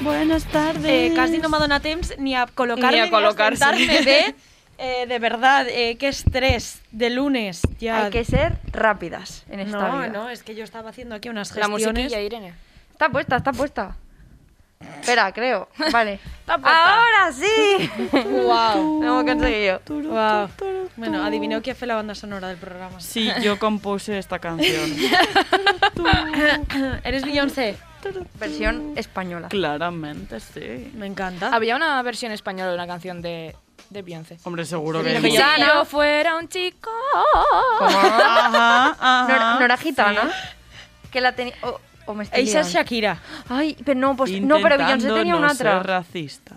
Buenas tardes. Eh, casi no m'ha donat temps ni a col·locar-me Ni a col·locar-se. sentar-me bé. Eh, de verdad, eh, qué estrés de lunes. Ya. Hay que ser rápidas en esta no, vida. no, es que yo estaba haciendo aquí unas La gestiones. musiquilla, Irene. Está puesta, está puesta. Espera, creo. Vale. Está puesta. ¡Ahora sí! Wow. Lo hemos conseguido. Wow. Bueno, adivineu qui ha fet la banda sonora del programa. Sí, yo compuse esta canción. ¿Eres Beyoncé? Versión española. Claramente, sí. Me encanta. Ah, Había una versión española de una canción de, de Beyoncé. Hombre, seguro Sí, que lo que sí. yo- Si yo fuera un chico. Ajá, ¿No, ajá. no era gitana? Que la tenía... O, o me estoy Eixa liando. és Shakira. Ai, però no, pues, no, però Beyoncé Intentando tenia no una altra. ser racista.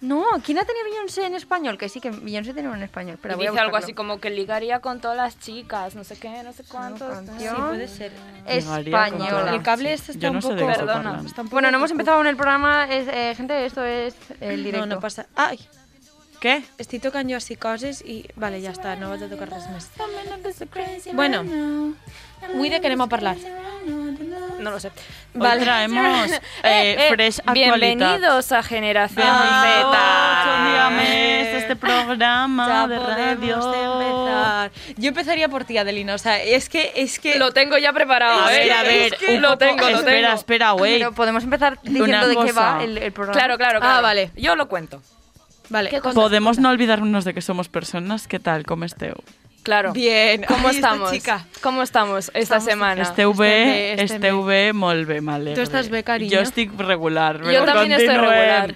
No, quina tenia Beyoncé en español? Que sí, que Beyoncé tenía una en español. Pero Y voy a dice algo buscarlo. así como que ligaría con todas las chicas, no sé qué, no sé cuántos. canción. Sí, puede ser. Llegaría con Española. todas. El cable este está Yo no un sé de poco- qué está Perdona, hablando. Está un poco- Bueno, no hemos empezado con el programa. Es, eh, gente, esto es el directo. No, no passa... Ai, ¿Qué? estic tocant jo així coses i... Vale, ja està, no vaig a tocar res més. Bueno, avui de què anem a parlar? No lo sé. Hoy traemos eh, Eh, eh, Fresh Actualidad. bienvenidos a Generación Ah, Z. dígame, este Ya programa de radio. podemos empezar. Yo empezaría por ti, Adelina. O sea, es que... Es que... Lo tengo ya preparado. A ¿eh? ver, a ver, un lo poco- tengo, lo espera, tengo. espera, güey. Pero podemos empezar diciendo de qué cosa. va el, el programa. Claro, claro, claro. Ah, vale. Yo lo cuento. Vale. Podemos no olvidarnos de que somos personas. ¿Qué tal? ¿Cómo esteu? Claro. Bien. ¿Cómo Ay, esta estamos? chica. ¿Cómo estamos esta semana? Esteu bé, bé, estem esteu bé, molt bé, m'alegre. Tu estàs bé, carinyo? Jo estic regular. Yo però también estoy continuem. regular.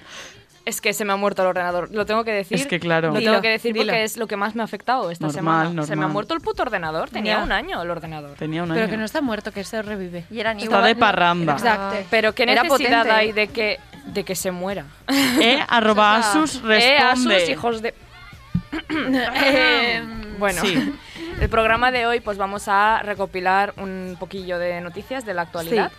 Es que se me ha muerto el ordenador. Lo tengo que decir. Es que claro. Lo Dilo, tengo que decir dilo. porque es lo que más me ha afectado esta Normal, semana. Se me ha normal. muerto el puto ordenador. Tenía Ya. un año el ordenador. Tenia un Pero año. que no está muerto, que se revive. Y era ni Está de parramba. Exacte. Pero qué Era necesidad potente. hay de que, de que se muera. Eh, arroba Asus responde. Eh, a sus hijos de... Eh, Em, bueno, Sí. el programa de hoy pues vamos a recopilar un poquillo de noticias de la actualidad.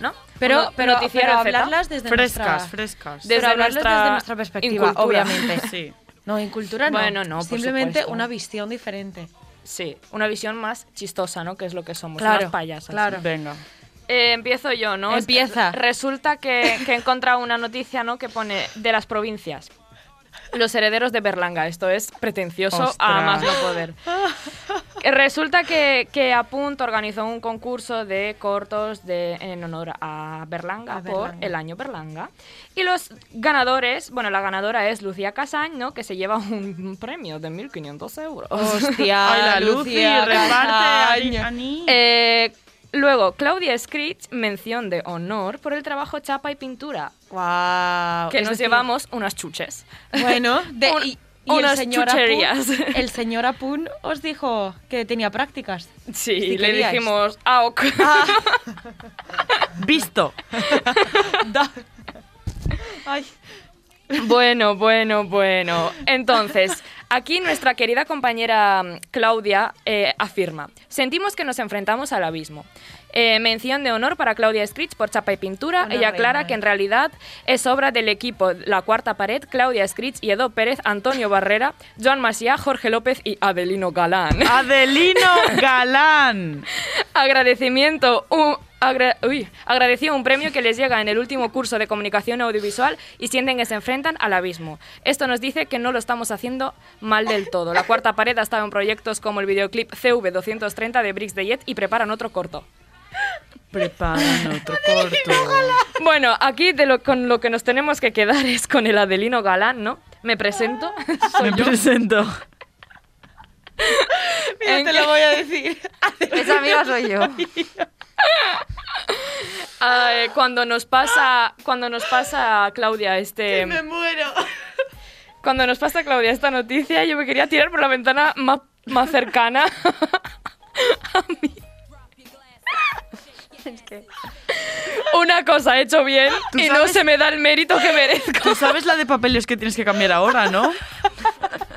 ¿No? Pero, Uno- pero, noticiero pero Z. hablarlas desde Frescas, nuestra... frescas. desde pero hablarlas nuestra desde nuestra perspectiva, incultura. obviamente. Sí. No, en cultura no. Bueno, no, por Simplemente supuesto. una visión diferente. Sí, una visión más chistosa, ¿no? Que es lo que somos, Claro, unas payasas. claro. Venga. Eh, empiezo yo, ¿no? Empieza. Resulta que, que he encontrado una noticia, ¿no? Que pone de las provincias. Los herederos de Berlanga. Esto es pretencioso a Ostras. más no poder. Resulta que, que Apunt organizó un concurso de cortos de, en honor a Berlanga A por Berlanga. el año Berlanga. Y los ganadores, bueno, la ganadora es Lucía Casañ, ¿no? Que se lleva un premio de 1.500 euros. Hostia, Ay, la Lucy, Lucía reparte, Castaño. Ani. Eh, luego, Claudia Scritch, mención de honor por el trabajo chapa y pintura, Guau. que Es nos decir, llevamos unas chuches. Bueno, de, Un- y, y el unas señor Apun- chucherías. el señor Apun os dijo que tenía prácticas. Sí, Si le queríais. dijimos, ah, ok". Visto. Ay, Bueno, bueno, bueno. Entonces, aquí nuestra querida compañera mm, Claudia eh, afirma, sentimos que nos enfrentamos al abismo. Eh, mención de honor para Claudia Scritch por chapa y pintura. Una Ella aclara reina, que eh. en realidad es obra del equipo La Cuarta Pared, Claudia Scritch, Edo Pérez, Antonio Barrera, Joan Maciá, Jorge López y Adelino Galán. Ah, Adelino Galán. Agradecimiento. Un, agra- uy, agradecido un premio que les llega en el último curso de comunicación audiovisual y sienten que se enfrentan al abismo. Esto nos dice que no lo estamos haciendo mal del todo. La cuarta pared ha estado en proyectos como el videoclip CV230 de Bricks de Jet y preparan otro corto. Preparan otro corto. Bueno, aquí de lo, con lo que nos tenemos que quedar es con el Adelino Galán, ¿no? Me presento. Me presento. mira, ¿En te qué? lo voy a decir. Esa amiga soy yo. Ay, cuando nos pasa, cuando nos pasa Claudia este. muero. Cuando nos pasa Claudia esta noticia, yo me quería tirar por la ventana más, más cercana. Es que- Una cosa he hecho bien ¿Tú y no sabes? se me da el mérito que merezco. Tú sabes la de papeles que tienes que cambiar ahora, ¿no?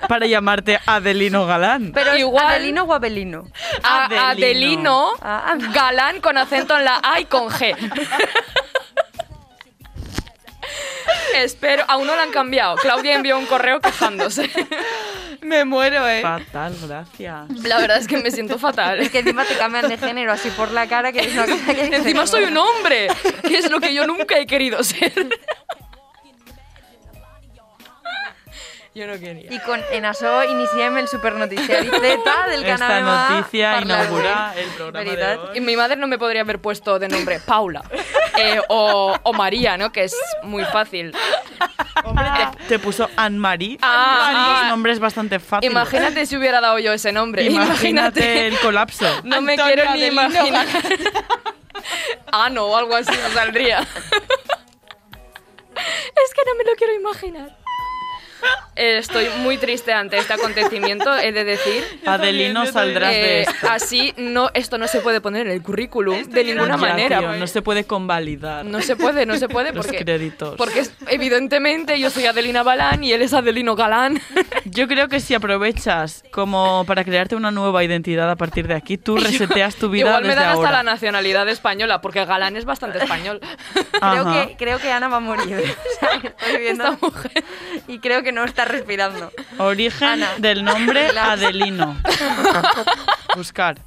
Para llamarte Adelino Galán. Pero es Igual- Adelino o Abelino. A- Adelino. Adelino, Ah. galán con acento en la A y con G. Espero, aún no lo han cambiado. Claudia envió un correo quejándose. Me muero, eh. Fatal, gracias. La verdad es que me siento fatal. Es que encima te cambian de género así por la cara, que es una cosa que... Encima soy un hombre, que es lo que yo nunca he querido ser. Yo no quería. Y con Enasó iniciem el supernoticiari Z del canal Esta Emma noticia Parla inaugura Avui. el programa de Veritat. hoy. Y mi madre no me podría haber puesto de nombre Paula eh, o, o María, ¿no? Que es muy fácil. Te puso Anne-Marie. Ah, Anne-Marie, ah. ese nombre es bastante fácil. Imagínate si hubiera dado yo ese nombre. Imagínate Imagínate. el colapso. No me Antonia quiero ni de Lino. imaginar. ah, no, o algo así me saldría. es que no me lo quiero imaginar. Eh, Estoy muy triste ante este acontecimiento, he de decir. Adelino saldrás de Eh, esto. así no, esto no se puede poner en el currículum Eh, de Ya, ninguna manera. pues. tío, no se puede convalidar. No se puede, no se puede Los porque, créditos. porque es- evidentemente yo soy Adelina Balán y él es Adelino Galán. Yo creo que si aprovechas como para crearte una nueva identidad a partir de aquí, tú reseteas tu vida Igual me desde dan ahora. hasta la nacionalidad española porque Galán es bastante español. Creo Ajá. que, creo que Ana va a morir. O sea, estoy viendo Esta mujer. Y creo que no está respirando. Origen Ana. del nombre La- Adelino. Buscar.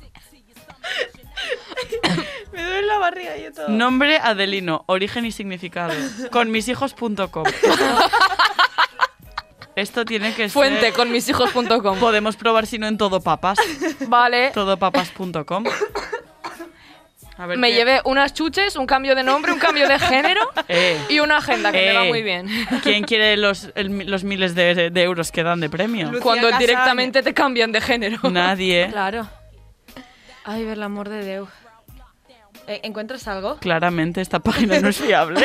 Me duele la barriga y todo. Nombre Adelino, origen y significado. Con mishijos.com. Esto tiene que Fuente ser. con mishijos.com. Podemos probar si no en todo papas. Pues, Vale. Todopapas.com. A ver Me qué- llevé unas chuches, un cambio de nombre, un cambio de género Eh. y una agenda que me va Eh, muy bien. ¿Quién quiere los, el mi- los miles de, de euros que dan de premio? Lucía Cuando Casaña. directamente te cambian de género. Nadie, Claro. Ay, ver el amor de Deu. Eh, ¿Encuentras algo? claramente, esta página no es fiable.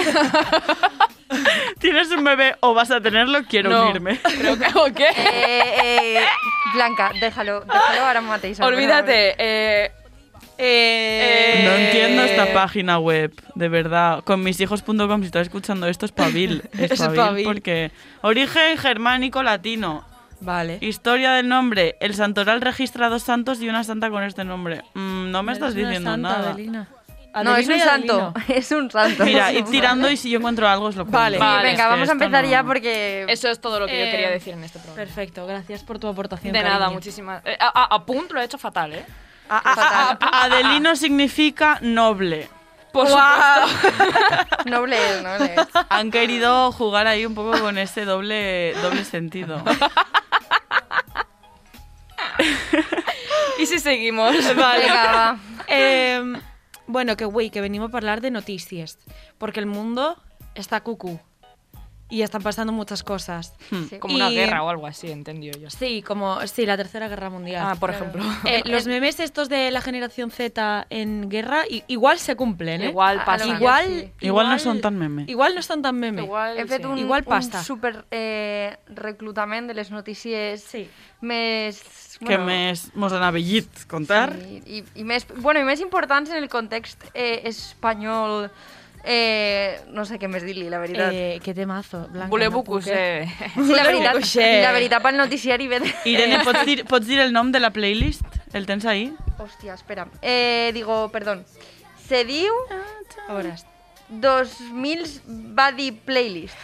¿Tienes un bebé o vas a tenerlo? Quiero No, unirme. Creo que, ¿o qué? Eh, eh, Blanca, déjalo, déjalo ahora me matéis. a ver, Olvídate. eh, Eh, No Eh, entiendo esta página web, de verdad. Con mishijos.com, si estás escuchando esto, espabil. Espabil, Espabil. porque... Origen germánico latino. Vale. Historia del nombre. El santoral registra dos santos y una santa con este nombre. Mm, no me estás diciendo nada. a ver. No, es un santo. Es un santo. Mira, ir tirando y si yo encuentro algo os lo cuento. Vale. Sí, Vale, es venga, que vamos esto a empezar no- ya porque. eso es todo lo que yo Eh, quería decir en este programa. Perfecto, gracias por tu aportación. De nada, cariño. muchísimas. eh, a, a- a Punt lo he hecho fatal, ¿eh? A- a- a- a- Adelino significa noble. Por supuesto. Noble es, noble es. Han querido jugar ahí un poco con ese doble, doble sentido. Y si seguimos. Venga, va. Eh, bueno, que güey, que venimos a parlar de noticias. Porque el mundo está cucú. Y están pasando muchas cosas. Sí. Como una Y- guerra o algo así, entendió yo. Sí, como sí, la Tercera Guerra Mundial. Ah, por ejemplo. Eh, los memes estos de la generación Z en guerra i- igual se cumplen, ¿eh? Igual A- a pasa. lo Igual, Igual no son tan meme. Igual no son tan meme. Igual, He fet sí. un, Igual pasta. un super eh, reclutament de les notícies Sí. més... Que me mos han avellit contar. I, i, i més, bueno, i més importants en el context eh, espanyol... Eh, no sé què més dir-li, la veritat. Eh, Eh, qué temazo, Blanca. no Bulebucus, puc, eh. eh. sí, la veritat, Cuixé. la veritat pel noticiari ve de... Irene, ¿pots dir, pots dir el nom de la playlist? El tens ahí? Hòstia, espera. Eh, digo, perdó. Se diu A veure, 2000 Buddy Playlist.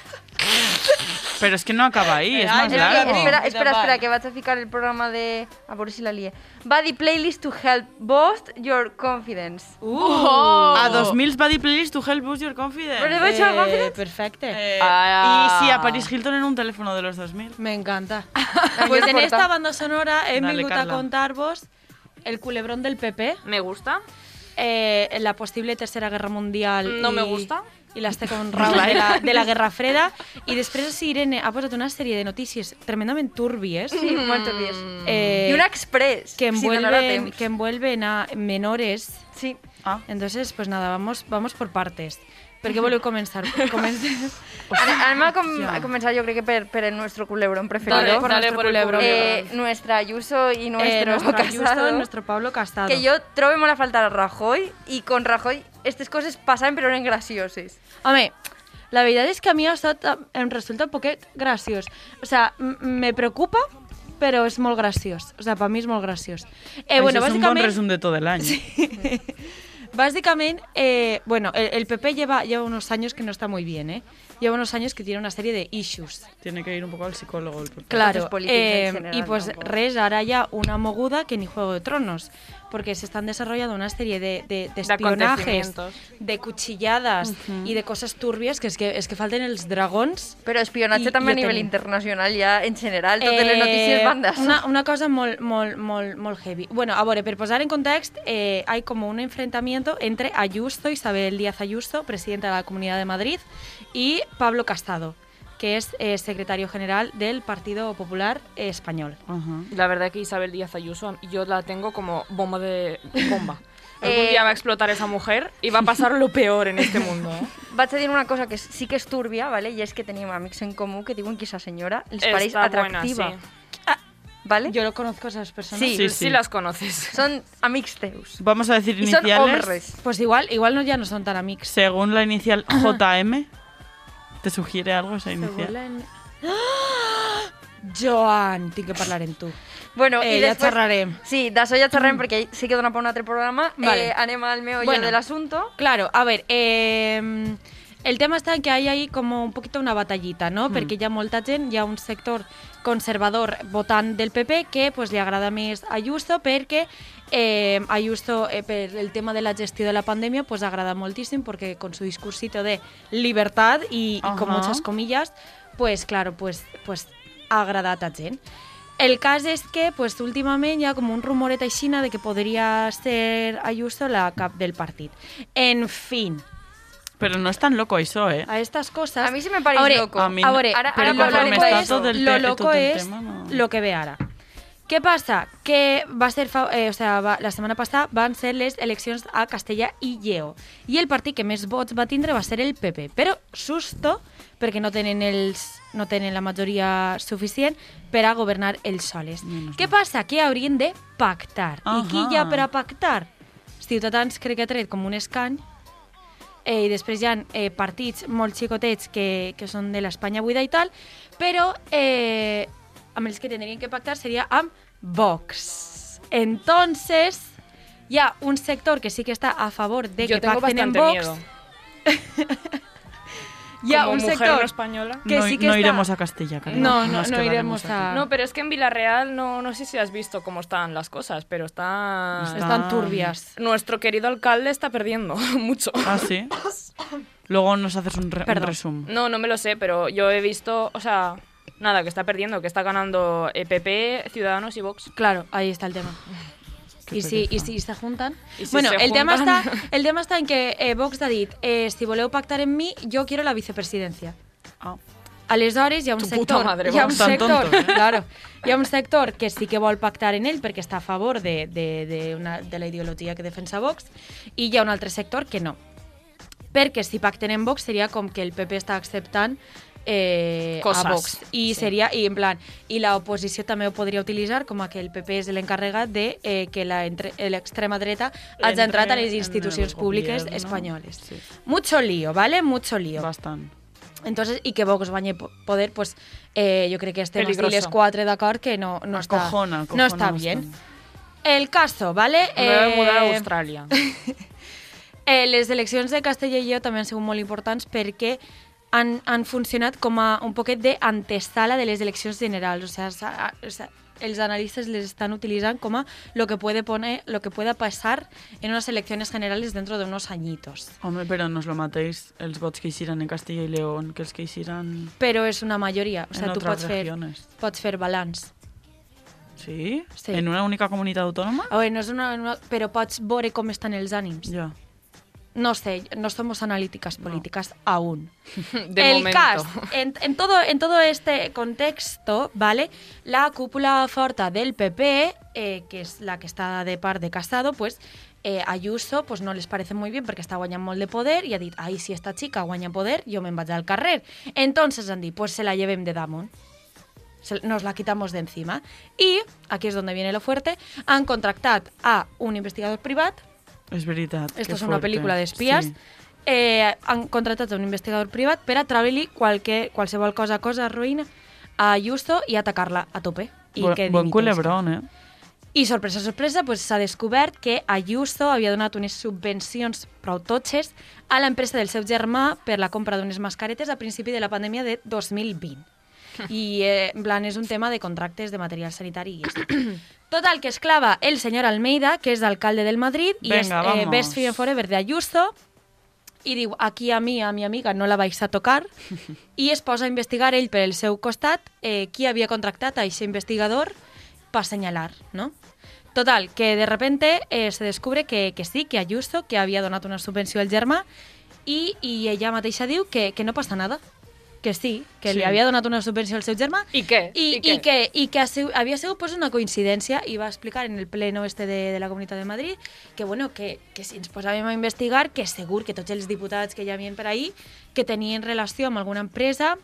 Pero es que no acaba ahí, es más Es que, largo. espera, espera, espera, que vaig a ficar el programa de... A veure si la lie. Buddy Playlist to help boost your confidence. Uh, Oh. A 2000 Buddy Playlist to help boost your Però confidence. vaig a eh, confidence? perfecte. Eh, Ah. y sí, a Paris Hilton en un teléfono de los 2000. Me encanta. Ah, Pues jo en porta- esta banda sonora he Dale, venido a Carla. contaros el culebrón del PP, Me gusta. eh, la posible tercera guerra mundial. No i- me gusta. I les té com raons de la, de la Guerra Freda. I després sí, Irene ha posat una sèrie de notícies tremendament túrbies Sí, molt obvious. Mm. eh, I un express, que, si donarà envuelven, temps. que envuelven a menores. Sí. Ah. Entonces, pues nada, vamos, vamos por partes. Per què voleu començar? Comencem. Ara, anem a, com, a començar, jo crec que per, per el nostro culebrón Dale, preferido. por dale nuestro por el culebrón. eh, culebrón. nuestra Ayuso y Eh, nuestro nuestro Casado. Ayuso, nuestro Pablo Casado. Que jo trobo molt a faltar a Rajoy i con Rajoy aquestes coses passaven però eren gracioses. Home, la veritat és que a mi ha estat, em resulta un poquet graciós. O sea, m- me preocupa, però és molt graciós. O sea, per mi és molt graciós. Eh, Ese bueno, es un buen bàsicament, resumen de todo el año. básicamente eh, bueno, el, el PP lleva, lleva unos años que no está muy bien, ¿eh? lleva unos años que tiene una serie de issues. Tiene que ir un poco al psicólogo. el- Claro, Entonces, política en eh, general y pues tampoco. Res hará ya una moguda que ni Juego de Tronos, porque se están desarrollando una serie de, de, de espionajes, acontecimientos. de cuchilladas y de cosas turbies que es que, es que falten els dragons. Però espionatge I- també a jo nivell tenim. internacional ja, en general, totes les notícies van d'això. Eh, Una, una cosa molt, molt, molt, molt heavy. Bueno, a veure, per posar en context, eh, hay como un enfrentamiento entre Ayuso, Isabel Díaz Ayuso, presidenta de la Comunidad de Madrid, y Pablo Castado, que es eh, secretario general del Partido Popular Español. Ajá. La verdad que Isabel Díaz Ayuso yo la tengo como bomba de bomba. Eh, Algún día va a explotar esa mujer y va a pasar lo peor en este mundo. ¿eh? Vaig a dir una cosa que sí que és túrbia, ¿vale? i és que tenim amics en comú que diuen que sa senyora les pareix Está buena, atractiva. sí. ¿vale? Yo lo conozco a esas personas. Sí, Sí, Sí, sí. las conoces. són amics teus. Vamos a decir I són iniciales. hombres. Pues igual, igual no, ya no son tan amigos. Según la inicial JM, ¿te sugiere algo esa inicial? Joan, tinc que parlar en tu. Bueno, Eh, i ja després... xerrarem. Sí, d'això ja xerrarem perquè sí que dona per un altre programa. Vale. Eh, anem al meu Bueno. bueno. de l'assumpto. Claro, a ver, eh, el tema está en que hay ahí como un poquito una batallita, ¿no? Mm. Perquè hi ha molta gent, hi ha un sector conservador votant del PP que pues, li agrada més Ayuso perquè eh, Ayuso eh, per el tema de la gestió de la pandèmia pues, agrada moltíssim perquè con su discursito de libertad y, y con Ajá. muchas comillas, pues claro, pues, pues ha agradat a gent. El cas és que pues, últimament hi ha com un rumoret aixina de que podria ser Ayuso la cap del partit. En fin, Pero no es tan loco eso, ¿eh? a estas cosas... A mi se me pareix A veure, loco. a mi A eh, veure, Ara- ara, ara lo parlarem loco és, d'això. Del lo te- loco tot el és tema, no. lo que ve ara. Què passa? Que va ser, fa- eh, o sea, va, la setmana passada van ser les eleccions a Castella i Lleó. I el partit que més vots va tindre va ser el PP. Però susto, perquè no tenen, els, no tenen la majoria suficient per a governar ells soles. Menos Què passa? Que haurien de pactar. I qui hi ha Ahà. per a pactar? Ciutadans crec que ha tret com un escany, eh, i després hi ha eh, partits molt xicotets que, que són de l'Espanya buida i tal, però eh, amb els que tindrien que pactar seria amb Vox. Entonces, hi ha un sector que sí que està a favor de yo que tengo pacten en bastante Vox. miedo. Hi ha Como un mujer sector no española. que no, sí que no está- iremos a Castilla, Carmen. No, no, Nos no quedaremos iremos aquí. a- No, pero es que en Villarreal no, no sé si has visto cómo están las cosas, pero está... Está- estan turbias. Nuestro querido alcalde está perdiendo mucho. Ah, sí. Luego nos haces un, re- un Perdón. Mm. resumen. No, no me lo sé, pero yo he visto, o sea, nada, que está perdiendo, que está ganando eh, PP, Ciudadanos y Vox. Claro, ahí está el tema. Qué I si, I pereza. si se juntan... I si bueno, se el, Tema juntan. està, el tema està en que eh, Vox ha dit eh, si voleu pactar en mi, jo quiero la vicepresidencia. Ah. Aleshores, hi ha un Tu puta sector... madre, hi ha un vamos. Tan sector, tonto, eh? claro, hi ha un sector que sí que vol pactar en ell perquè està a favor de, de, de, una, de la ideologia que defensa Vox i hi ha un altre sector que no. Perquè si pacten en Vox seria com que el PP està acceptant eh, Coses. a Vox. I Sí. seria, i en plan, i la oposició també ho podria utilitzar com a que el PP és l'encarregat de eh, que la entre- l'extrema dreta hagi Entre entrat a les en el institucions públiques gobierno. espanyoles. Sí. Mucho lío, ¿vale? Mucho lío. Bastant. Entonces, i que Vox guanyi po- poder, pues, eh, jo crec que estem Peligroso. aquí les quatre d'acord que no, no, està, Acojona, acojona no està bastant. bien. El caso, ¿vale? Me voy a mudar a Eh, Australia. eh, les eleccions de Castella i Lleó també han sigut molt importants perquè han, han funcionat com a un poquet d'antesala de les eleccions generals. O sea, s'ha- o sea, els analistes les estan utilitzant com a lo que puede poner, lo que pueda pasar en unas elecciones generales dentro de unos añitos. Home, però no us lo mateix els vots que hiciran en Castilla i León que els que hiciran Però és una majoria, o sea, en tu otras pots fer, regiones. pots fer balanç. Sí? Sí. En una única comunitat autònoma? A veure, no és una, una... Però pots veure com estan els ànims. Ja. No sé, no somos analíticas políticas aún. De el momento. cast, en, en todo, en todo este contexto, ¿vale? La cúpula forta del PP, eh, que es la que está de par de Casado, pues eh, Ayuso pues no les parece muy bien porque está guañando molt de poder y ha dit, ay, si esta chica guaña poder, yo me vaig al carrer. Entonces, Andy, pues se la lleven de Damon. Se- nos la quitamos de encima. Y, aquí es donde viene lo fuerte, han contractat a un investigador privat És veritat. que esto es una fuerte. pel·lícula d'espies. Sí. Eh, han contratat un investigador privat per a treure-li qualque, qualsevol cosa, cosa ruïna a Justo i atacar-la a tope. I Bu- que buen dimitís. culebrón, eh? I sorpresa, sorpresa, pues, s'ha descobert que Ayuso havia donat unes subvencions prou totxes a l'empresa del seu germà per la compra d'unes mascaretes a principi de la pandèmia de 2020. I, eh, en plan, és un tema de contractes de material sanitari i esto. Total, que esclava el senyor Almeida, que és alcalde del Madrid, i és Venga, eh, vamos. Best Friend Forever de Ayuso, i diu, aquí a mi, a mi amiga, no la vais a tocar, i es posa a investigar ell per el seu costat eh, qui havia contractat a aquest investigador per assenyalar, no? Total, que de repente eh, se descubre que, que sí, que Ayuso, que havia donat una subvenció al germà, i, i ella mateixa diu que, que no passa nada, que sí, que sí. Sí. li havia donat una subvenció al seu germà, I què? i, I què? i que, i que ha sigut, havia sigut pues, una coincidència i va explicar en el pleno este de, de la Comunitat de Madrid que, bueno, que, que si ens posàvem a investigar que segur que tots els diputats que hi havia per ahir que tenien relació amb alguna empresa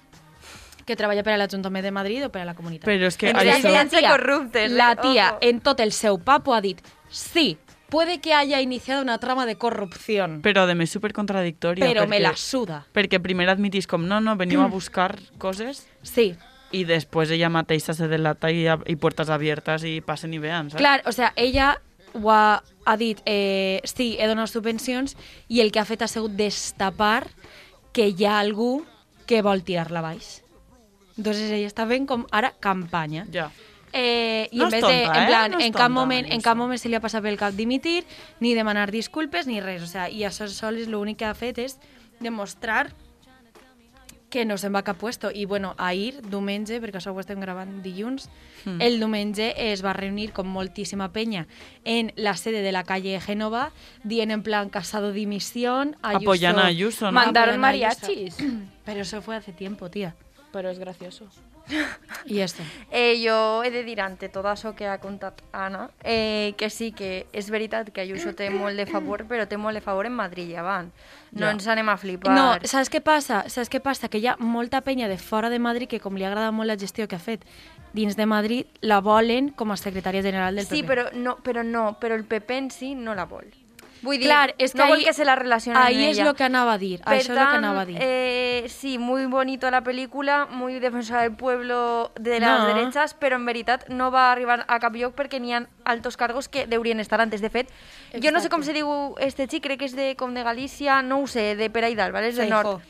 que treballa per a l'Ajuntament de Madrid o per a la Comunitat. Però és que Entonces, Ayuso- la Evidència tía- corruptes, eh? La tía Ojo. en tot el seu papo ha dit sí, puede que haya iniciado una trama de corrupción, Però, a més, supercontradictòria. però me Mm. perquè- la suda. Perquè primer admitís com, no, no, venim a buscar coses Sí, i després ella mateixa se delata i, i portes abiertes i passen i vean, saps? Clar, o sea, ella ho ha, ha dit, eh, sí, he donat subvencions, i el que ha fet ha sigut destapar que hi ha algú que vol tirar-la baix. Entonces ella està fent com ara campanya. Ja. Eh, I en No és vez de, tonta, en eh? plan, No és en, cap tonta, moment, en Ayuso. cap moment se li ha passat pel cap dimitir, ni demanar disculpes, ni res. O sea, I això sols l'únic que ha fet és demostrar que no se'n va a cap puesto. I bueno, ahir, diumenge, perquè això ho estem gravant dilluns, Hmm. mm. el diumenge es va reunir con moltíssima penya en la sede de la calle Génova, dient en plan Casado dimisión, Ayuso... Apoyant a Ayuso, no? Apoyant Mandaron a Ayuso. mariachis. Pero eso fue hace tiempo, tía. Pero es gracioso. I esto. Eh, jo he de dir, ante tot això que ha contat Anna, eh, que sí que és veritat que Ayuso té molt de favor, però té molt de favor en Madrid i avant. No Ja. ens anem a flipar. No, saps què passa? Saps què passa? Que hi ha molta penya de fora de Madrid que, com li agrada molt la gestió que ha fet dins de Madrid, la volen com a secretària general del sí, PP. però no, però no, però el PP en si no la vol. Vull dir, Clar, és que no vol ahí- que se la relacioni amb ahí ella. és lo que anava a dir, això és Ah, lo que anava a dir. Eh, sí, muy bonito la película, muy defensa del pueblo de las No. derechas, però en veritat no va arribar a cap lloc perquè n'hi ha altos cargos que deurien estar antes. De fet, Exacte. jo no sé Exacte. com se diu este xic, crec que és de, com de Galícia, no ho sé, de Pereidal, ¿vale? és del Feijóo. nord.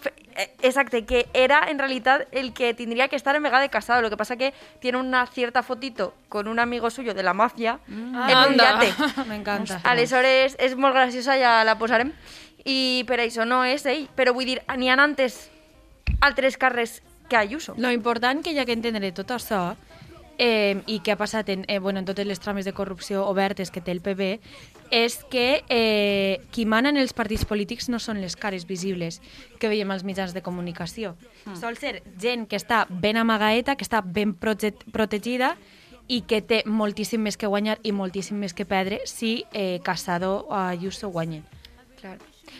Fe- eh, Exacte, que era en realidad el que tendría que estar en Vega de Casado. Lo que pasa que tiene una cierta fotito con un amigo suyo de la mafia Mm. en un Anda. yate. M'encanta. Aleshores, és molt graciosa, ja la posarem. I per això no és ell. Però vull dir, n'hi ha antes altres carrers que Ayuso. Lo important que hi ha que entendre tot això eh, i que ha passat en, eh, bueno, en totes les trames de corrupció obertes que té el PP és que eh, qui manen els partits polítics no són les cares visibles que veiem als mitjans de comunicació. Sol ser gent que està ben amagaeta, que està ben prote protegida i que té moltíssim més que guanyar i moltíssim més que perdre si eh, Casado o Ayuso guanyen. Clar.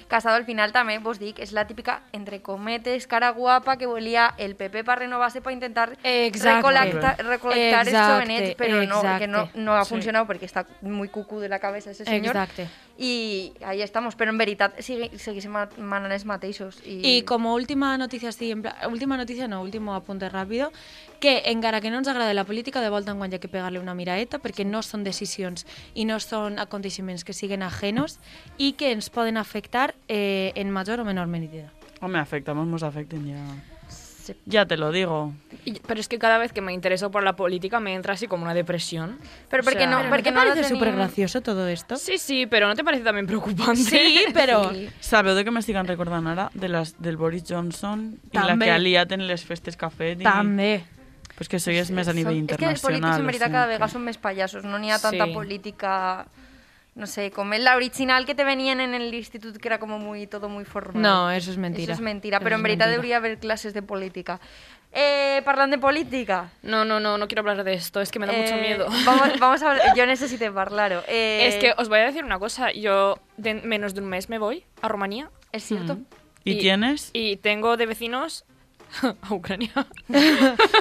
Casado al final també, vos dic, és la típica, entre cometes, cara guapa que volia el PP per renovar-se per intentar Exacte. recolecta, recolectar els Exacte, jovenets, però no, exacte. que no, no ha Sí. funcionat perquè està molt cucú de la cabeza ese senyor. Exacte. I ahí estamos, però en veritat sigui, seguim manant els mateixos. I, Y como última noticia, sí, en pla- última noticia no, último apunte rápido, que encara que no ens agrada la política, de volta en guany hi ha que pegar-li una miraeta perquè no són decisions i no són aconteixements que siguen ajenos i que ens poden afectar eh, en major o menor medida. Home, afectamos, nos afecten ya. Sí. Ya te lo digo. Y- Pero es que cada vez que me intereso por la política me entra así como una depresión. Però O perquè sea- no, Pero perquè ¿Te no la parece tenim- súper gracioso todo esto? Sí, sí, pero ¿no te parece también preocupante? Sí, pero... Sí. Sabeu de què m'estiguen recordant ara? De les, del Boris Johnson i També. la que ha liat en les festes que ha fet. I... També. Pues que això ja és més a nivell Són- internacional. És que els polítics en veritat o sigui cada que- vegada són més pallassos, no n'hi ha tanta Sí. política... No sé, com la original que te venien en el institut que era como muy, todo muy formal. No, eso es mentira. Eso es mentira, Eso però es en veritat mentira. hauria haver classes de política. Eh, parlant de política... No, no, no, no quiero hablar de esto, es que me da mucho eh, miedo. Vamos, vamos a hablar, yo necesito parlaro. Eh, Es que os voy a decir una cosa, yo de menos de un mes me voy a Rumanía Es cierto. ¿Y, Y- tienes? y tengo de vecinos a Ucrania.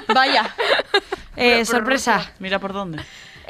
Vaya. Eh, Pero- pero sorpresa. Mira por dónde.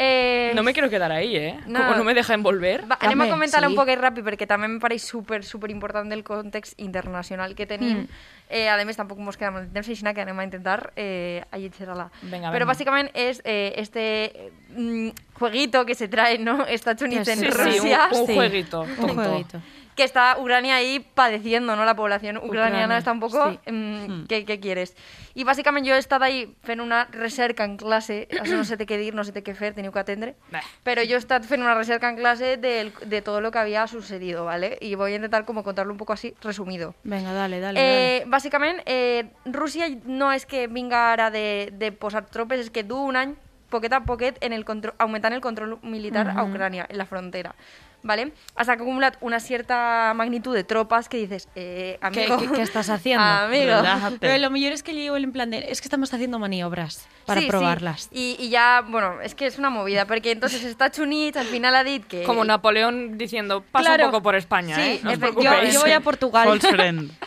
Eh, No me quiero quedar ahí, ¿eh? No. Como no me deja envolver. Va, anem a Home, comentar-la sí. un poquet ràpid perquè també em pareix super, super important el context internacional que tenim. Mm. Eh, a més, tampoc mos queda molt de temps, així que anem a intentar eh, allitxar-la. Venga, Però venga. bàsicament és eh, este mm, jueguito que se trae, ¿no? Estados Unidos en sí, Rusia. un- un jueguito, Un tonto. jueguito. que está Ucrania ahí padeciendo, ¿no? La población ucraniana Ucrania, está un poco... sí. Hmm. mm, ¿qué, qué quieres? I bàsicament jo he estat ahí fent una recerca en classe, això no sé què dir, no sé què fer, teniu que atendre, Bah. però jo he estat fent una recerca en classe del, de todo lo que había sucedido, ¿vale? Y voy a intentar como contarlo un poco así, resumido. Venga, dale, dale. dale. Eh, bàsicament, eh, Rússia no és que vinga ara de, de posar tropes, és que du un any, poquet a poquet, en el contro- augmentant el control militar a Ucrania, en la frontera. ¿Vale? Has acumulat una cierta magnitud de tropas que dices, eh, amigo... qué- qué estás haciendo? Amigo. Relájate. Pero lo mejor es que llevo el en plan de, es que estamos haciendo maniobras para Sí, sí. probarlas. Y, y ya, bueno, es que es una movida, porque entonces está Chunich, al final ha dit que... Como Napoleón diciendo, pasa Claro. un poco por España, Sí, ¿eh? No os efe- yo- preocupéis. Yo voy a Portugal. False friend.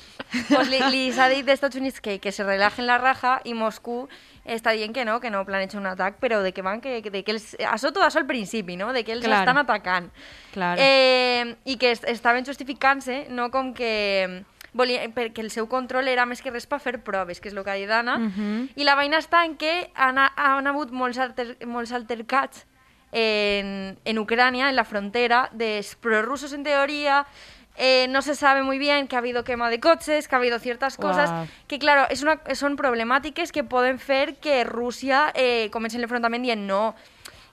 Pues li, li s'ha dit d'Estats Units que, que se relajen la raja i Moscú està dient que no, que no planeja un atac, però de que van, que, de que els... Això tot això al principi, no? De que els Claro. estan atacant. Claro. Eh, I que es- estaven justificant-se, no com que volia, perquè el seu control era més que res per fer proves, que és el que ha dit Anna, Mhm. i la vaina està en que han, han hagut molts, alter, molts altercats en, en Ucrania, en la frontera, de prorrusos en teoría, eh, no se sabe muy bien que ha habido quema de coches, que ha habido ciertas cosas, Guau. que claro, és una, són problemàtiques que poden fer que Rússia eh, comenci l'enfrontament dient no,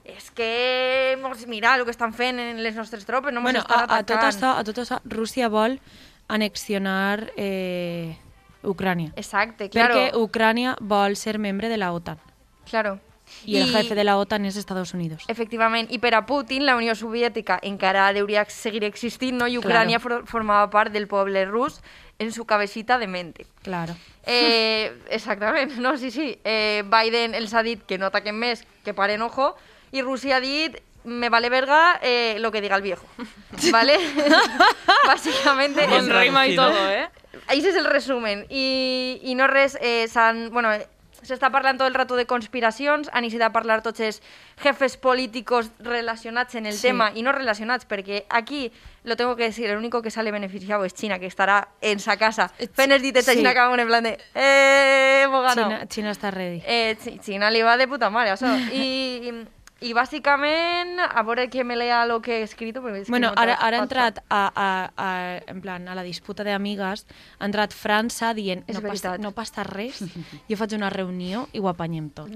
és que mos- mira el que estan fent en les nostres tropes, no mos bueno, estan a, a tot atacant. això, a tot això, Rússia vol annexionar eh, Ucrània. Exacte, claro. Perquè Ucrània vol ser membre de la OTAN. claro. I, el jefe de la OTAN és Estados Unidos. Efectivament, i per a Putin la Unió Soviètica encara deuria seguir existint, no? i Ucrània for formava part del poble rus en su cabecita de mente. Claro. Eh, exactament, no, sí, sí. Eh, Biden els ha dit que no ataquen més, que paren ojo, i Rússia ha dit me vale verga eh, lo que diga el viejo. ¿Vale? Básicamente... Con Con eso. rima y traducido. todo, ¿eh? Ahí ese es el resumen. I, i no res, eh, s'han... Bueno, eh, s'està parlant tot el rato de conspiracions, han iniciat a parlar tots els jefes políticos relacionats en el Sí. tema i no relacionats, perquè aquí, lo tengo que decir, el único que sale beneficiado es China, que estará en sa casa Eh, fent els ditets a sí. China que en plan de... Eh, hemos ganado. Xina, Xina està ready. Eh, Chi- China li va de puta mare, això. I, i, i bàsicament, a veure que me lea lo que he escrito, perquè és Bueno, que no ara, tra- ara ha tra- entrat a, a, a, en plan, a la disputa d'amigues, ha entrat França dient És no passa, veritat. no passa res, jo faig una reunió i ho apanyem tot.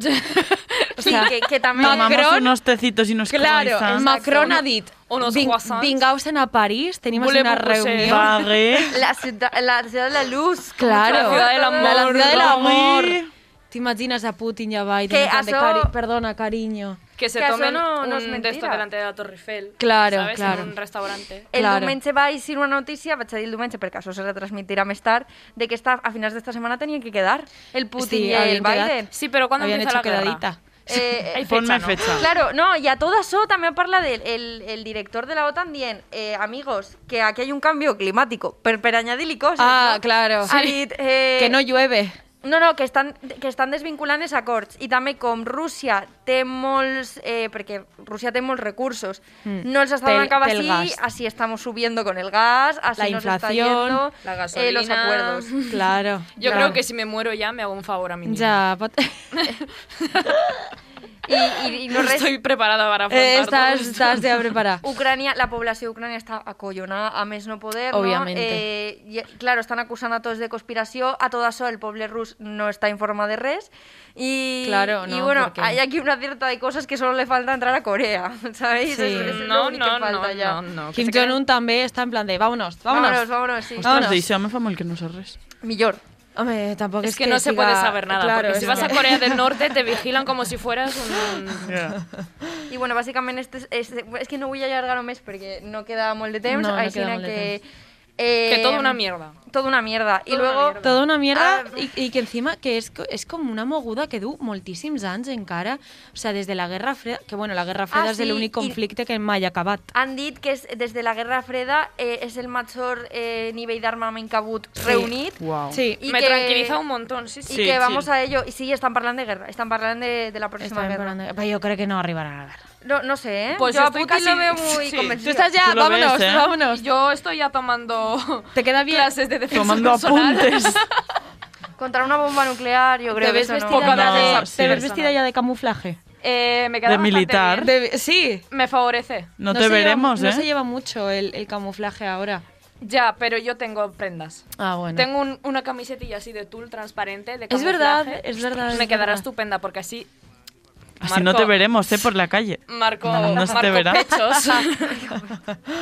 O Sí, sea, que, que també... Macron- Tomamos unos tecitos y unos Claro, croissants. Macron ha dit Unos "Vin- croissants. vingaus-en a París, tenim Volem una un posset". ¿eh? reunió. Baguette. La ciudad, la ciudad de la luz. Claro. La ciudad del amor. La, la ciudad del amor. Romy. T'imagines a Putin i a Biden. Que en plan de això- cari- Perdona, cariño. Que se Que eso tomen no- no es un de estos mentira. delante de la Torre Eiffel. Claro, ¿sabes? claro. En un restaurante. El Claro. diumenge va eixir una notícia, vaig a dir el diumenge perquè això se retransmitirà més tard, de que esta, a finals d'esta setmana tenien que quedar el Putin Sí, i el havien quedat- Biden. Sí, pero ¿cuándo Habían empieza hecho la guerra? quedadita. Eh, Hay Ponme fecha, ¿no? fecha. Claro, no, y a todo eso también parla del el, el director de la OTAN bien, eh, amigos, que aquí hay un cambio climático, pero per añadir y cosas. Ah, ¿no? claro. Ha dit, eh, Que no llueve. No, no, que estan, que estan desvinculant els acords i també com Rússia té molts... Eh, perquè Rússia té molts recursos. Mm. No els està Pel- donant cap pel así, gas. así estamos subiendo con el gas, así La nos está inflación, yendo, la eh, los gasolina. acuerdos. Claro. Yo claro. creo que si me muero ya me hago un favor a mí misma. Ya, pot- I, i, i no res... Estoy preparada para afrontar Eh, estás, todo esto. estás ya preparada. Ucrania, la població ucrania està acollonada a més no poder, Obviamente. no? Eh, i, claro, estan acusant a tots de conspiració, a tot això el poble rus no està informat de res i, Claro, i no, bueno, porque- hay aquí una cierta de cosas que solo le falta entrar a Corea, ¿sabéis? Sí. Es, es lo No, único no, que falta no, ya. no, no. que Kim se queden- Jong-un també està en plan de vámonos, vámonos. Vámonos, vámonos, sí. Ostras, Vámonos. deixeu me fa molt que no sé res. Millor. Home, tampoco Es, es, que, no se siga- puede saber nada, Claro, porque si es vas que- a Corea del Norte te vigilan como si fueras un... I bueno, bàsicament este, és- este, és que no vull allargar-ho més perquè no queda molt de temps, No, no així queda molt de que... temps. Eh, Que todo una mierda. Toda una mierda. Toda I una luego... mierda. Toda una mierda Ah. i, i que encima que és, co- és com una moguda que du moltíssims anys encara, o sea, des de la Guerra Freda, que bueno, la Guerra Freda Ah, és sí, l'únic i- conflicte que mai ha acabat. Han dit que és, des de la Guerra Freda eh, és el major eh, nivell d'armament que ha hagut reunit. Wow. Sí, Y me que- tranquiliza un montón, sí, I sí. Sí, que vamos sí. a ello. I sí, estan parlant de guerra. Estan parlant de, de la pròxima estàvem guerra. parlant de... Però jo crec que no arribarà a la guerra. No, no sé, ¿eh? Pues yo a estoy Putin casi- lo veo muy sí. Tú convencido. estás ya, Tú lo ves, vámonos, ¿eh? vámonos. Yo estoy ya tomando ¿Te queda bien? clases de defensa Tomando personal. apuntes. Contra una bomba nuclear, yo creo ¿Te que ves eso no... vestida, No, ya, de, sí. ¿te ves vestida ya de camuflaje? Eh, me queda De bastante militar. bien. De- sí. Me favorece. No, te se lleva- veremos, ¿eh? No se lleva mucho el, el camuflaje ahora. Ya, pero yo tengo prendas. Ah, bueno. Tengo un- una camisetilla así de tul transparente. De Es verdad, camuflaje. es verdad, Me es quedará verdad. estupenda porque así Así no te Marco. veremos, ¿eh? Por la calle. marco, No se te marco verá. pechos.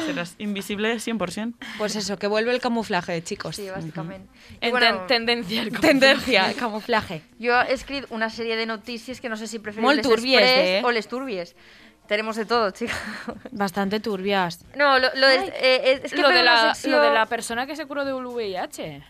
Serás invisible 100%. Pues eso, que vuelve el camuflaje, chicos. Sí, básicamente. Y En bueno, ten- tendencia. al Tendencia, el camuflaje. Yo he escrit una sèrie de notícies que no sé si preferir Molt les turbies, express eh? o les turbies. Tenemos de todo, chica. Bastante turbias. No, lo, lo de- eh, eh, és que lo, fem de una la, secció... lo de la persona que se curó de un VIH. ¿Sí? Eh,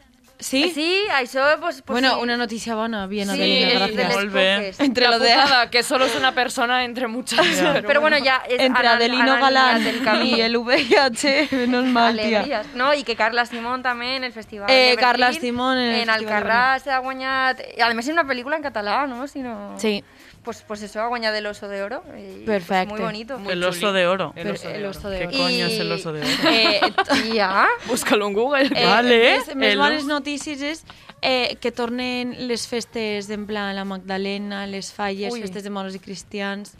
Sí, això... Pues, pues bueno, sí. una noticia buena, bien, Sí, Adelina, eh, de les gracias. del- Volve. coques. Entre La lo de putada, que solo es una persona entre muchas. Pero, bueno, ya es entre han- Adelino han alineat Galán el camí. y el VIH, menos mal, tía. Alegries, no? I que Carla Simón també en el festival Eh, de Berlín, Carla Simón en el en Festival de Alcarràs ha guanyat, i a més és una pel·lícula en català, no? Si no... Sí. Pues, pues eso, ha guanyat el oso de oro. i, Pues, Perfecto. muy bonito. Muy El chuli. oso de oro. El oso de el oro. oso de ¿Qué oro. coño es el Y- oso de oro? Eh, Ja? Búscalo en Google. eh, Vale, les- les el- bones notícies és eh, que tornen les festes en plan la Magdalena, les falles, Ui. festes de moros i cristians.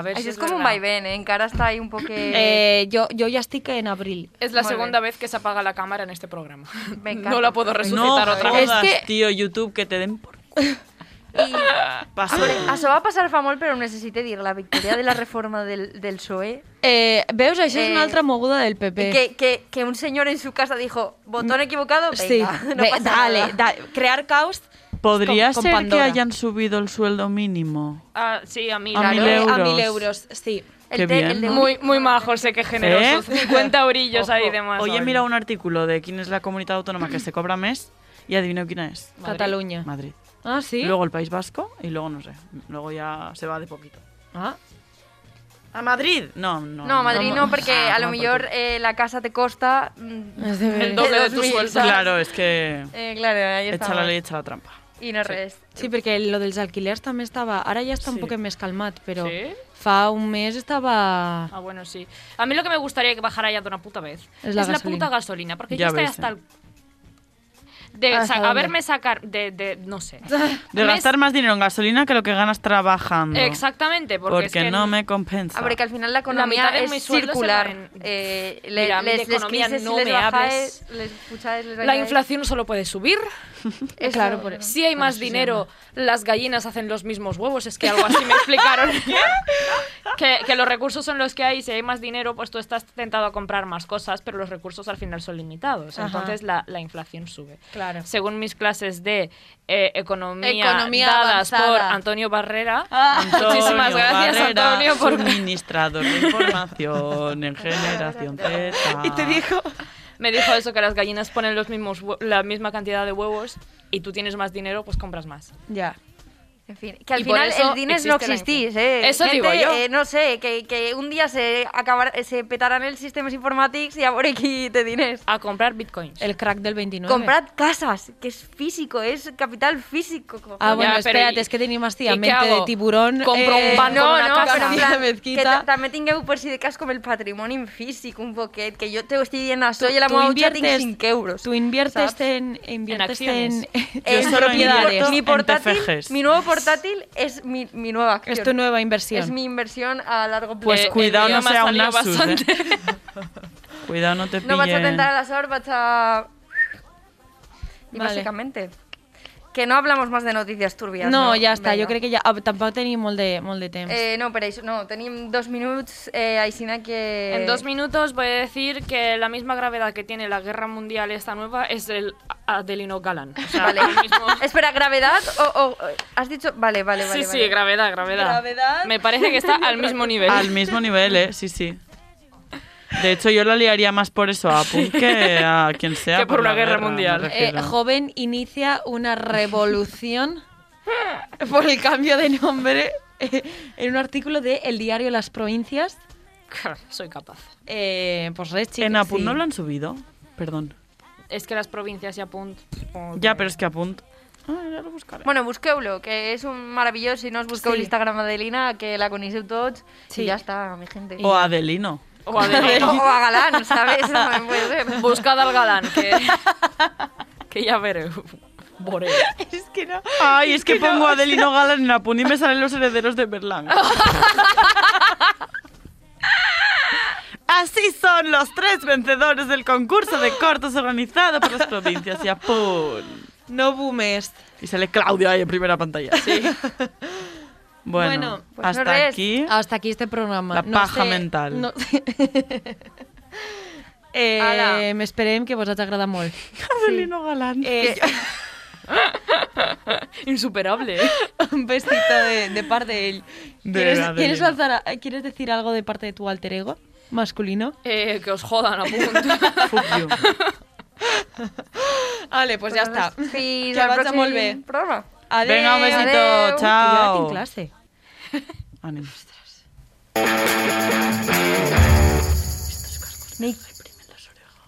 Pues a ver si Això es és com un verdad. vaivén, eh? Encara està ahí un poc... Eh... Eh, jo, jo ja estic en abril. Es la Muy segunda vez que se apaga la cámara en este programa. Me encanta. No la puedo No resucitar otra vez. jodas, que- tío, YouTube, que te den por... I Paso. això va passar fa molt, però ho necessite dir. La victòria de la reforma del, del PSOE Eh, veus, això és una Eh, altra moguda del PP. E. Que, que, que un señor en su casa dijo, botón equivocado, venga, sí, no ve- pasa dale, nada. da- crear caos ¿Podría con- con ser Pandora. que hayan subido el sueldo mínimo? Ah, sí, a mí. A Claro. mil Eh, euros. a mil euros, sí. Qué bien. Muy, muy majo, sé que generosos. ¿Eh? 50 orillos ahí de más. Hoy he mirado un artículo de quién es la comunidad autónoma que se cobra mes y adivino quién es. Cataluña. Madrid. Ah, sí. Luego el País Vasco y luego no sé. Luego ya se va de poquito. Ah, ¿A Madrid? No, no. No, Madrid no, porque Ah, a lo toma por mejor culo. eh, la casa te costa... mm, és de El ver- doble de tu 2000, sueldo. Claro, es que Eh, claro, ahí está. echa la ley, echa la trampa. Y no res. Sí, perquè lo dels alquilers també estava... Ara ja està un Sí. poc més calmat, però Sí? fa un mes estaba... Ah, bueno, sí. A mí lo que me gustaría que bajara ya de una puta vez Es la gasolina. puta gasolina, porque Ya yo estoy ves, hasta eh. el- De ¿Hasta sa- dónde? a verme sacar de, de- no sé. De Mes- gastar más dinero en gasolina que lo que ganas trabajando. Exactamente, porque, Porque, es que no en- me compensa. A ver, Ah, que al final la economía mitad de mi es sueldo se circular. va en- Eh, Mira, a mí de economía crisis, no les me bajáis, Les escucháis, les la bajáis. inflación solo puede subir. Eso, Claro, por eso. Si hay más dinero, las gallinas hacen los mismos huevos. Es que algo así me explicaron. que, que los recursos son los que hay. y Si hay más dinero, pues tú estás tentado a comprar más cosas, pero los recursos al final son limitados. Ajá. Entonces la, la inflación sube. Claro. Según mis clases de eh, economía, Economía dadas avanzada. por Antonio Barrera. Antonio Muchísimas gracias, Barrera, Antonio, por- Suministrador de información en generación Z. Ah. Me dijo eso, que las gallinas ponen los mismos, hue- la misma cantidad de huevos y tú tienes más dinero, pues compras más. Ja. En fin, que al Y por final eso el dinés no existe la existís, inflación. ¿eh? Eso digo yo. eh, no sé, que, que un día se acabar, se petarán el sistemas informáticos y ahora aquí te dinés. A comprar bitcoins. El crack del 29. Comprad casas, que es físico, es capital físico. cojones. Ah, bueno, Ya, pero espérate, y- es que tenim ¿y hostia, qué mente de hago? tiburón. eh, Compro un banco, Eh, no, una no, casa. però en Una plan, que mezquita. ta- també tingueu per si de cas com el patrimoni físic un poquet, que jo te ho estic dient això i a la Tú meva butxa tinc inviertes- 5 euros. Tú inviertes ¿sabes? Eh, en, inviertes en, acciones. Yo en solo propiedades. invierto- Mi en portátil, TFGs. mi nuevo portátil es mi, mi nueva acción. Es tu nueva inversión. Es mi inversión a largo plazo. Pues Eh, el cuidado mío no me ha sea un salido Asus, ¿eh? bastante. Cuidado, no te pillen. No vaig a tentar a la sort, vaig a... Y Vale. básicamente. Que no hablamos más de noticias turbias. No, ya está, Venga. yo creo que ya... ah, Tampoc tenim molt de, molt de temps. Eh, no, pero això, no, tenim dos minutos, eh, Aixina, que... En dos minutos voy a decir que la misma gravedad que tiene la guerra mundial esta nueva es el a- Adelino Galán. O sea, Vale. ahora mismo- Espera, gravedad o, o- has dicho, vale, vale, vale. sí, vale. sí, gravedad, gravedad. Gravedad. Me parece que está al mismo nivel. Al mismo nivel, ¿eh? Sí, sí. De hecho, yo la liaría más por eso a Punk que a quien sea. Que por una la guerra me mundial. refiero. Eh, joven inicia una revolución por el cambio de nombre eh, en un artículo de El Diario Las Provincias. Soy capaz. Eh, pues res, chicos, en Apunt sí. no lo han subido. Perdón. Es que las provincias y Apunt. supongo que- Ya, pero es que Apunt Ah, ja la buscaré. Bueno, busqueu-lo, que és un meravellós. Si no us busqueu Sí. l'Instagram d'Adelina, que la coneixeu tots. Sí. I ja està, mi gente. O Adelino. O a Adele. O, o a Galán, ¿sabes? También puede ser. Buscad al galán, que, que ya veré. Boré. Es que no. Ay, es que pongo a Adelino Galán en Apun y me salen los herederos de Berlán. Así son los tres vencedores del concurso de cortos organizado por las provincias y Apun. No boomes. Y sale Claudia ahí en primera pantalla. Bueno, Bueno, pues hasta no res. aquí. Hasta aquí este programa. La No paja sé- mental. no- Eh, Ala. m'esperem que vos hagi agradat molt. Adelino Galán. Eh, Insuperable. ¿eh? un besito de, de parte de él. De ¿Quieres, Adelina. ¿quieres, lanzar a- ¿Quieres decir algo de parte de tu alter ego masculino? Eh, que os jodan a punto. Fuck you. Vale, pues ya está. Fins Que al vaja molt bé. pròxim programa. Adeu. Venga, un besito. Adeu. Que jo ara tinc classe. Chao. Ánimos. Nick.